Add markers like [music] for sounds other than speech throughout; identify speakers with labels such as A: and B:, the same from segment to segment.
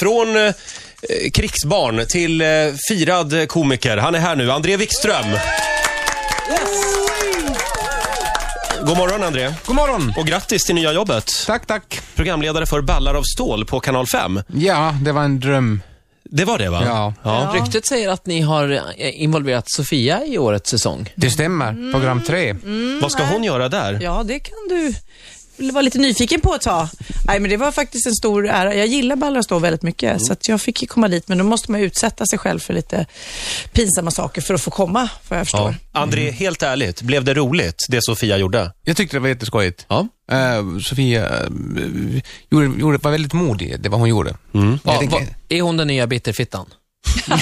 A: Från eh, krigsbarn till eh, firad komiker. Han är här nu, André Wikström. God morgon André
B: God morgon!
A: och grattis till nya jobbet.
B: Tack, tack.
A: Programledare för Ballar av stål på Kanal 5.
B: Ja, det var en dröm.
A: Det var det va?
B: Ja.
A: ja.
C: Ryktet säger att ni har eh, involverat Sofia i årets säsong.
B: Det stämmer. Program tre.
A: Vad ska hon göra där?
D: Mm, Ja, det kan du vara lite nyfiken på att ta. Nej, men det var faktiskt en stor ära. Jag gillar Ballar stå väldigt mycket,
A: Mm.
D: så att jag fick ju komma dit. Men då måste man ju utsätta sig själv för lite pinsamma saker för att få komma, vad jag förstår.
A: Ja. André,
B: Mm.
A: helt ärligt, blev det roligt det Sofia gjorde?
B: Jag tyckte det var jätteskojigt.
A: Ja.
B: Eh, Sofia eh, gjorde, gjorde, var väldigt modig, det var hon gjorde. Jag
C: Va,
B: tänker-
C: va, är hon den nya bitterfittan?
B: Mm.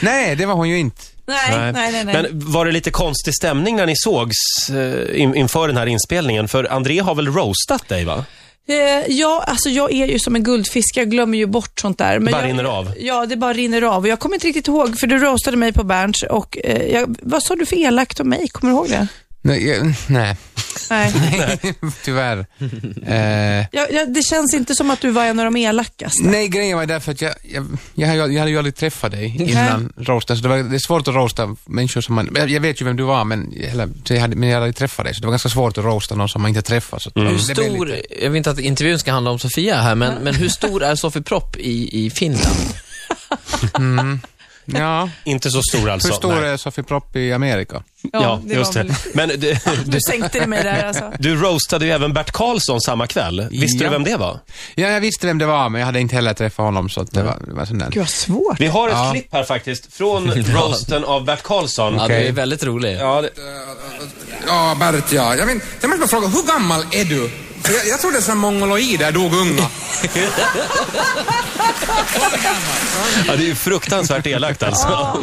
B: Nej, det var hon ju inte.
D: Nej, nej, nej. nej.
A: Men var det lite konstig stämning när ni sågs eh, in, inför den här inspelningen? För André har väl roastat dig va?
D: Eh, ja, alltså jag är ju som en guldfisk. Jag glömmer ju bort sånt där. Men
A: Bara
D: jag,
A: rinner av.
D: Ja, det bara rinner av. Och jag kommer inte riktigt ihåg, för du roastade mig på Berns och eh, jag, vad sa du för elakt om mig? Kommer du ihåg det?
B: Nej, jag, [laughs] nej.
D: Nej.
B: [laughs] tyvärr. Eh,
D: Jag, jag, det känns inte som att du var en av de elakaste.
B: nej, grejen var därför att jag, jag, jag, hade ju- jag hade ju aldrig träffat dig innan roasten, så det, var, det är svårt att roasta människor som man... Jag, jag vet ju vem du var, men, eller, så jag hade, men jag hade aldrig träffat dig, så det var ganska svårt att roasta någon som man inte träffat. Så
C: Hur
B: det blev
C: stor,
B: lite-
C: jag vill inte att intervjun ska handla om Sofia här, men, men hur stor är Sofie Propp i, i Finland?
B: Ja.
A: Inte så stor alltså.
B: Hur stor
A: Nej.
B: är Sofie Propp i Amerika?
A: Ja, just
D: var
A: det.
D: väl-
A: Men du, [laughs]
D: Du sänkte det mig där alltså.
A: du roastade ju även Bert Karlsson samma kväll. Visste
B: Ja.
A: du vem det var?
B: Ja, jag visste vem det var, men jag hade inte heller träffat honom, så att det var, det var sån där.
D: Gud vad svårt.
A: Vi har ett klipp här faktiskt [laughs] från roasten av Bert Karlsson.
C: Ja,
A: Ja.
C: du är väldigt rolig.
A: det,
E: Ja, Bert ja. Jag, men, jag måste bara fråga, hur gammal är du? För jag, jag trodde som mongoloider dog unga.
A: ja, det är ju fruktansvärt elakt alltså.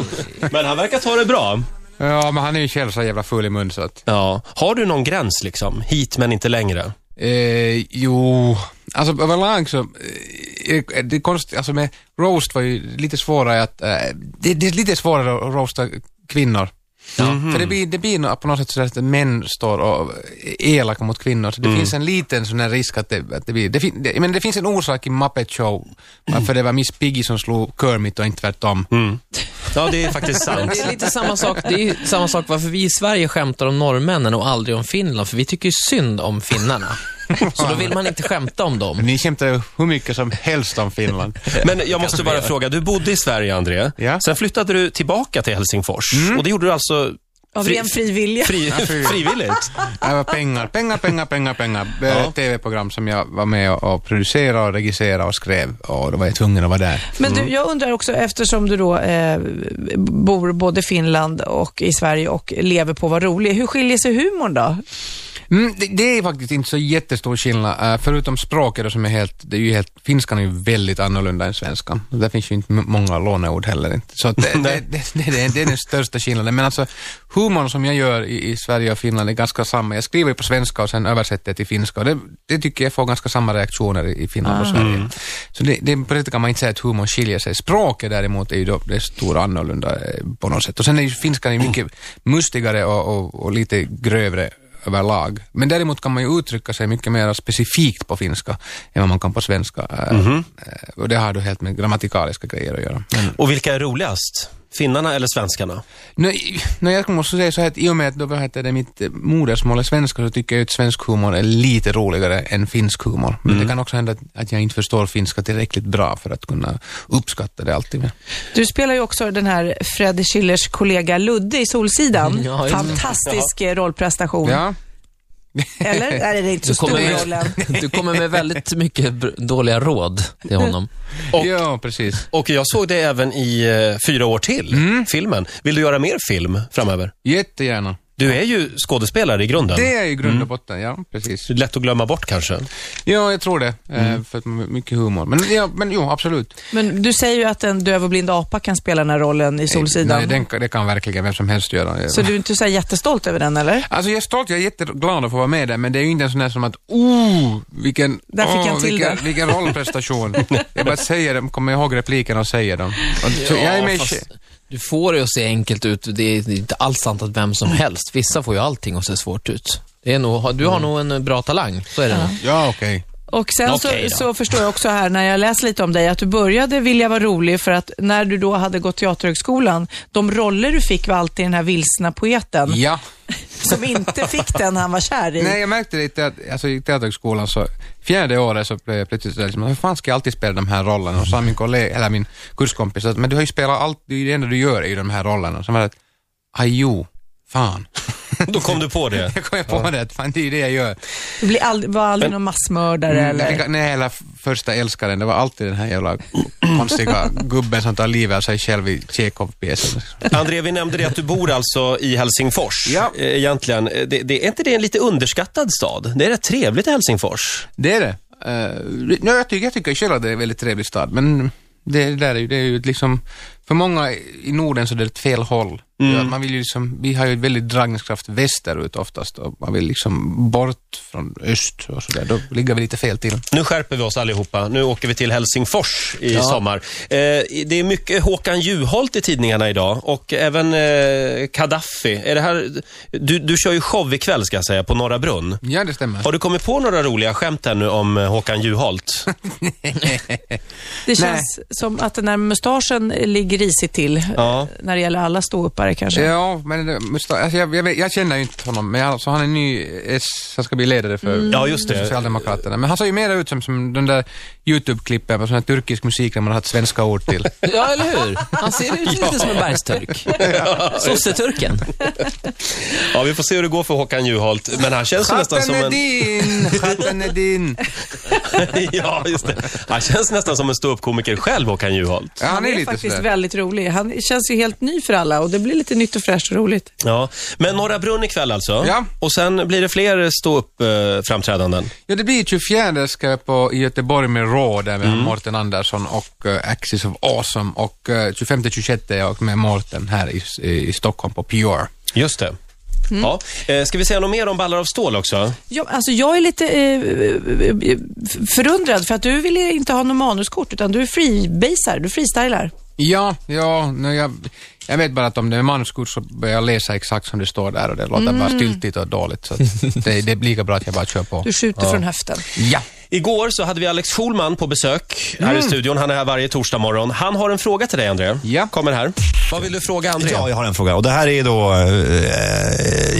A: Men han verkar ta det bra.
B: Ja, men han är ju själv så jävla full i mun så att...
A: Ja. Har du någon gräns liksom? Hit men inte längre?
B: Eh, jo, alltså överlag så... Eh, är det är konstigt, alltså med roast var ju lite svårare att... Eh, det, det är lite svårare att roasta kvinnor. Mm-hmm. För det blir, det blir nå- på något sätt så att män står och är elaka mot kvinnor, så det finns en liten sån här risk att det, att det blir... Det, fin- det, men det finns en orsak i Muppet Show, varför det var Miss Piggy som slog Kermit och inte tvärtom.
A: Ja, det är faktiskt [laughs]
C: Men
A: sant.
C: det är lite samma sak, det är ju samma sak varför vi i Sverige skämtar om norrmännen och aldrig om Finland, för vi tycker ju synd om finnarna. Så då vill man inte skämta om dem.
B: Ni skämtar ju hur mycket som helst om Finland.
A: Men jag måste bara fråga, du bodde i Sverige, André.
B: Ja.
A: Sen flyttade du tillbaka till Helsingfors. Och det gjorde du alltså
D: Av
A: Fri-
D: ren fri vilja.
A: fri, [laughs] frivilligt?
B: Det var Äh, pengar, pengar, pengar, pengar, pengar. Det var ett TV-program som jag var med och- och producerade och regisserade och skrev och då var jag tvungen att vara där.
D: Men du, jag undrar också, eftersom du då eh, bor både i Finland och i Sverige och lever på att vara rolig, hur skiljer sig humorn då?
B: Mm, det, det är faktiskt inte så jättestor skillnad, eh, förutom språket då som är helt, det är ju helt, finskan är ju väldigt annorlunda än svenskan. Där finns ju inte m- många låneord heller inte. Så att det, det, det, det, det, är- det är den största skillnaden. Men alltså humorn som jag gör i, i Sverige och Finland är ganska samma. Jag skriver ju på svenska och sen översätter jag till finska och det, det tycker jag får ganska samma reaktioner i, i Finland och Sverige. Så det, det, på det sättet kan man inte säga att humorn skiljer sig. Språket däremot är ju då det stora annorlunda eh, på något sätt. Och sen är ju finskan är mycket mustigare och, och, och lite grövre överlag. Men däremot kan man ju uttrycka sig mycket mer specifikt på finska än vad man kan på svenska. Eh, eh, Och det har du helt med grammatikaliska grejer att göra. Men,
A: Och vilka är roligast? Finnarna eller svenskarna?
B: nu, nu, jag måste säga så här att i och med att då, vad heter det, mitt eh, modersmål är svenska så tycker jag att svensk humor är lite roligare än finsk humor. Men det kan också hända att, att jag inte förstår finska tillräckligt bra för att kunna uppskatta det alltid. Men,
D: Du spelar ju också den här Freddy Schillers kollega Ludde i Solsidan.
C: Ja, just det.
D: Fantastisk eh, rollprestation.
B: ja.
D: Eller? Nej, det är inte så
C: Du
D: stor
C: kommer,
D: roll än.
C: med, du kommer med väldigt mycket br- dåliga råd till honom.
A: Och-
B: ja, precis.
A: Och jag såg det även i eh, Fyra år till,
B: Mm.
A: filmen. Vill du göra mer film framöver?
B: Jättegärna.
A: Du är ju skådespelare i grunden.
B: Det är i grund och botten, ja, precis.
A: Det är lätt att glömma bort kanske.
B: Ja, jag tror det. eh, För att man har mycket humor. Men, ja, men jo, absolut.
D: Men du säger ju att en döv och blind apa kan spela den här rollen i Solsidan.
B: Nej, den, det kan verkligen vem som helst göra.
D: Så du är inte så här jättestolt över den, eller?
B: Alltså jag är stolt, jag är jätteglad att få vara med där, men det är ju inte en sån här som att oh, vilken,
D: Där fick jag en till
B: vilken,
D: där.
B: vilken
D: [laughs]
B: rollprestation. jag bara säger dem, kommer ihåg replikerna och säger dem. Och, så jag är med i
C: fast
B: tje-
C: du får det att se enkelt ut. Det är inte alls sant att vem som helst. Vissa får ju allting att se svårt ut. Det är nog, du har nog en bra eh, talang, så är det nog.
B: Ja, okej.
D: Och sen
A: Okej
D: så,
A: då.
D: så förstår jag också här när jag läser lite om dig att du började vilja vara rolig för att när du då hade gått teaterhögskolan, de roller du fick var alltid den här vilsna poeten
B: Ja.
D: som inte fick den han var kär i.
B: Nej, jag märkte lite att alltså, i teaterhögskolan så fjärde året så blev jag plötsligt sådär, liksom, hur fan ska jag alltid spela de här rollerna? Och så sa min kollega, eller min kurskompis att, men du har ju spelat allt, det är ju det enda du gör är ju de här rollerna. Och så var det att, aj jo, fan. [laughs]
A: Då kom du på det.
B: Jag kom jag på det, att fan det är ju det jag gör.
D: Du blir ald- var aldrig någon massmördare
B: Jag
D: eller...
B: fick- Mm, Nej, hela första älskaren, det var alltid den här jävla konstiga gubben som tar livet av sig själv i Tjechov-pjäsen.
A: André, vi nämnde det att du bor alltså i Helsingfors.
B: Ja.
A: eh, Egentligen. Eh, Det, det, är inte det en lite underskattad stad? Det är rätt trevligt i Helsingfors.
B: Det är det. Uh, jag, tycker, jag tycker själv att det är en väldigt trevlig stad, men det, där är, ju- det är ju ett liksom, för många i Norden så är det ett fel håll. Ja, man vill ju liksom, vi har ju väldigt dragningskraft västerut oftast och man vill liksom bort från öst och sådär. Då ligger vi lite fel till.
A: Nu skärper vi oss allihopa. Nu åker vi till Helsingfors i sommar. Eh, det är mycket Håkan Juholt i tidningarna idag och även eh, Gaddafi. Är det här, du, du kör ju show ikväll ska jag säga, på Norra Brunn.
B: Ja, det stämmer.
A: Har du kommit på några roliga skämt här nu om eh, Håkan [laughs] Juholt?
D: Det känns som att den här mustaschen ligger risigt till eh,
A: Ja.
D: när det gäller alla ståuppare kanske.
B: Ja, men det- musta- alltså jag, jag, vet- jag känner ju inte honom, men alltså, han är ny S, han ska bli ledare för
A: Mm. Ja, just det.
B: Socialdemokraterna. Men han ser ju mer ut som, som den där YouTube-klippen med sån här turkisk musik där man har haft svenska ord
A: [laughs]
B: till.
C: Ja, eller hur? Han ser ut lite som en bergsturk. Sosseturken.
A: Ja, vi får se hur det går för Håkan Juholt. Men han känns ju nästan som
B: Chatten är
A: en...
B: din, chatten är
A: [laughs]
B: din.
A: ja, just det. Han känns nästan som en ståuppkomiker själv, Håkan Juholt.
B: Ja,
D: Han är,
B: lite
D: faktiskt
B: sådär.
D: väldigt rolig. Han känns ju helt ny för alla och det blir lite nytt och fräscht och roligt.
A: Ja. Men Norra Brunn ikväll alltså.
B: Ja.
A: Och sen blir det fler ståuppframträdanden.
B: Ja, det blir 24 ska jag på i Göteborg med Rå där vi
A: Mm.
B: har Mårten Andersson och uh, Axis of Awesome och uh, 25-26 är jag med Mårten här i, i, i Stockholm på Pure.
A: Just det. Ja. Eh, Ska vi säga något mer om Ballar av stål också?
D: Ja, alltså jag är lite eh, eh, förundrad för att du vill inte ha något manuskort utan du är freebasar, du freestylar.
B: Ja, ja, nu jag, jag vet bara att om det är manuskort så börjar jag läsa exakt som det står där och det låter
A: Mm.
B: bara styltigt och dåligt. Så att det, det är lika bra att jag bara kör på.
D: Du skjuter från höften.
B: Ja.
A: Igår så hade vi Alex Schulman på besök här i studion. Han är här varje torsdag morgon. Han har en fråga till dig, André.
B: Ja.
A: Kommer [laughs] här. Vad vill du fråga, André?
F: Ja, jag har en fråga. Och det här är då,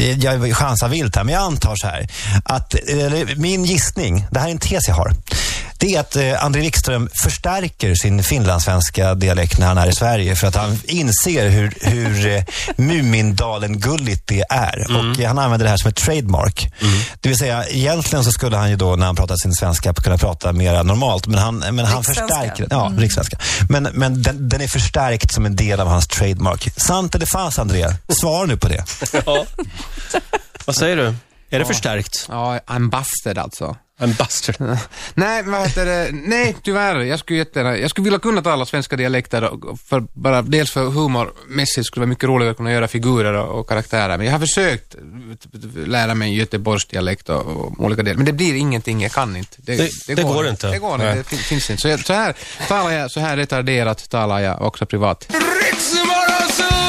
F: eh, jag chansar vilt här, men jag antar så här. Att, eller, min gissning, det här är en tes jag har. Det är att eh, André Wikström förstärker sin finlandssvenska dialekt när han är i Sverige. För att han inser hur, hur eh, Mumindalen-gulligt det är. Och eh, han använder det här som ett trademark. Det vill säga, egentligen så skulle han ju då när han pratar sin svenska kunna prata mera normalt. Men han, men han
D: Rikssvenska.
F: förstärker den. Ja, rikssvenska. Men, men den, den är förstärkt som en del av hans trademark. Sant eller falskt, André? Svara nu på det.
A: Ja. Vad säger du? Är det förstärkt?
B: Ja, I'm busted alltså.
A: En bastard.
B: Nej, vad heter det? Nej, tyvärr. Jag skulle jättegärna, jag skulle vilja kunna tala svenska dialekter, och- och för, bara, dels för humormässigt skulle det vara mycket roligare att kunna göra figurer och, och karaktärer. Men jag har försökt eh, lära mig göteborgsdialekt och, och olika delar, men det blir ingenting, jag kan inte.
A: Det- det går inte.
B: Det går inte,
A: Nej.
B: det fin- finns inte. Så, jag, så här talar jag, så här retarderat talar jag också privat.
E: Riksmorgonzoo!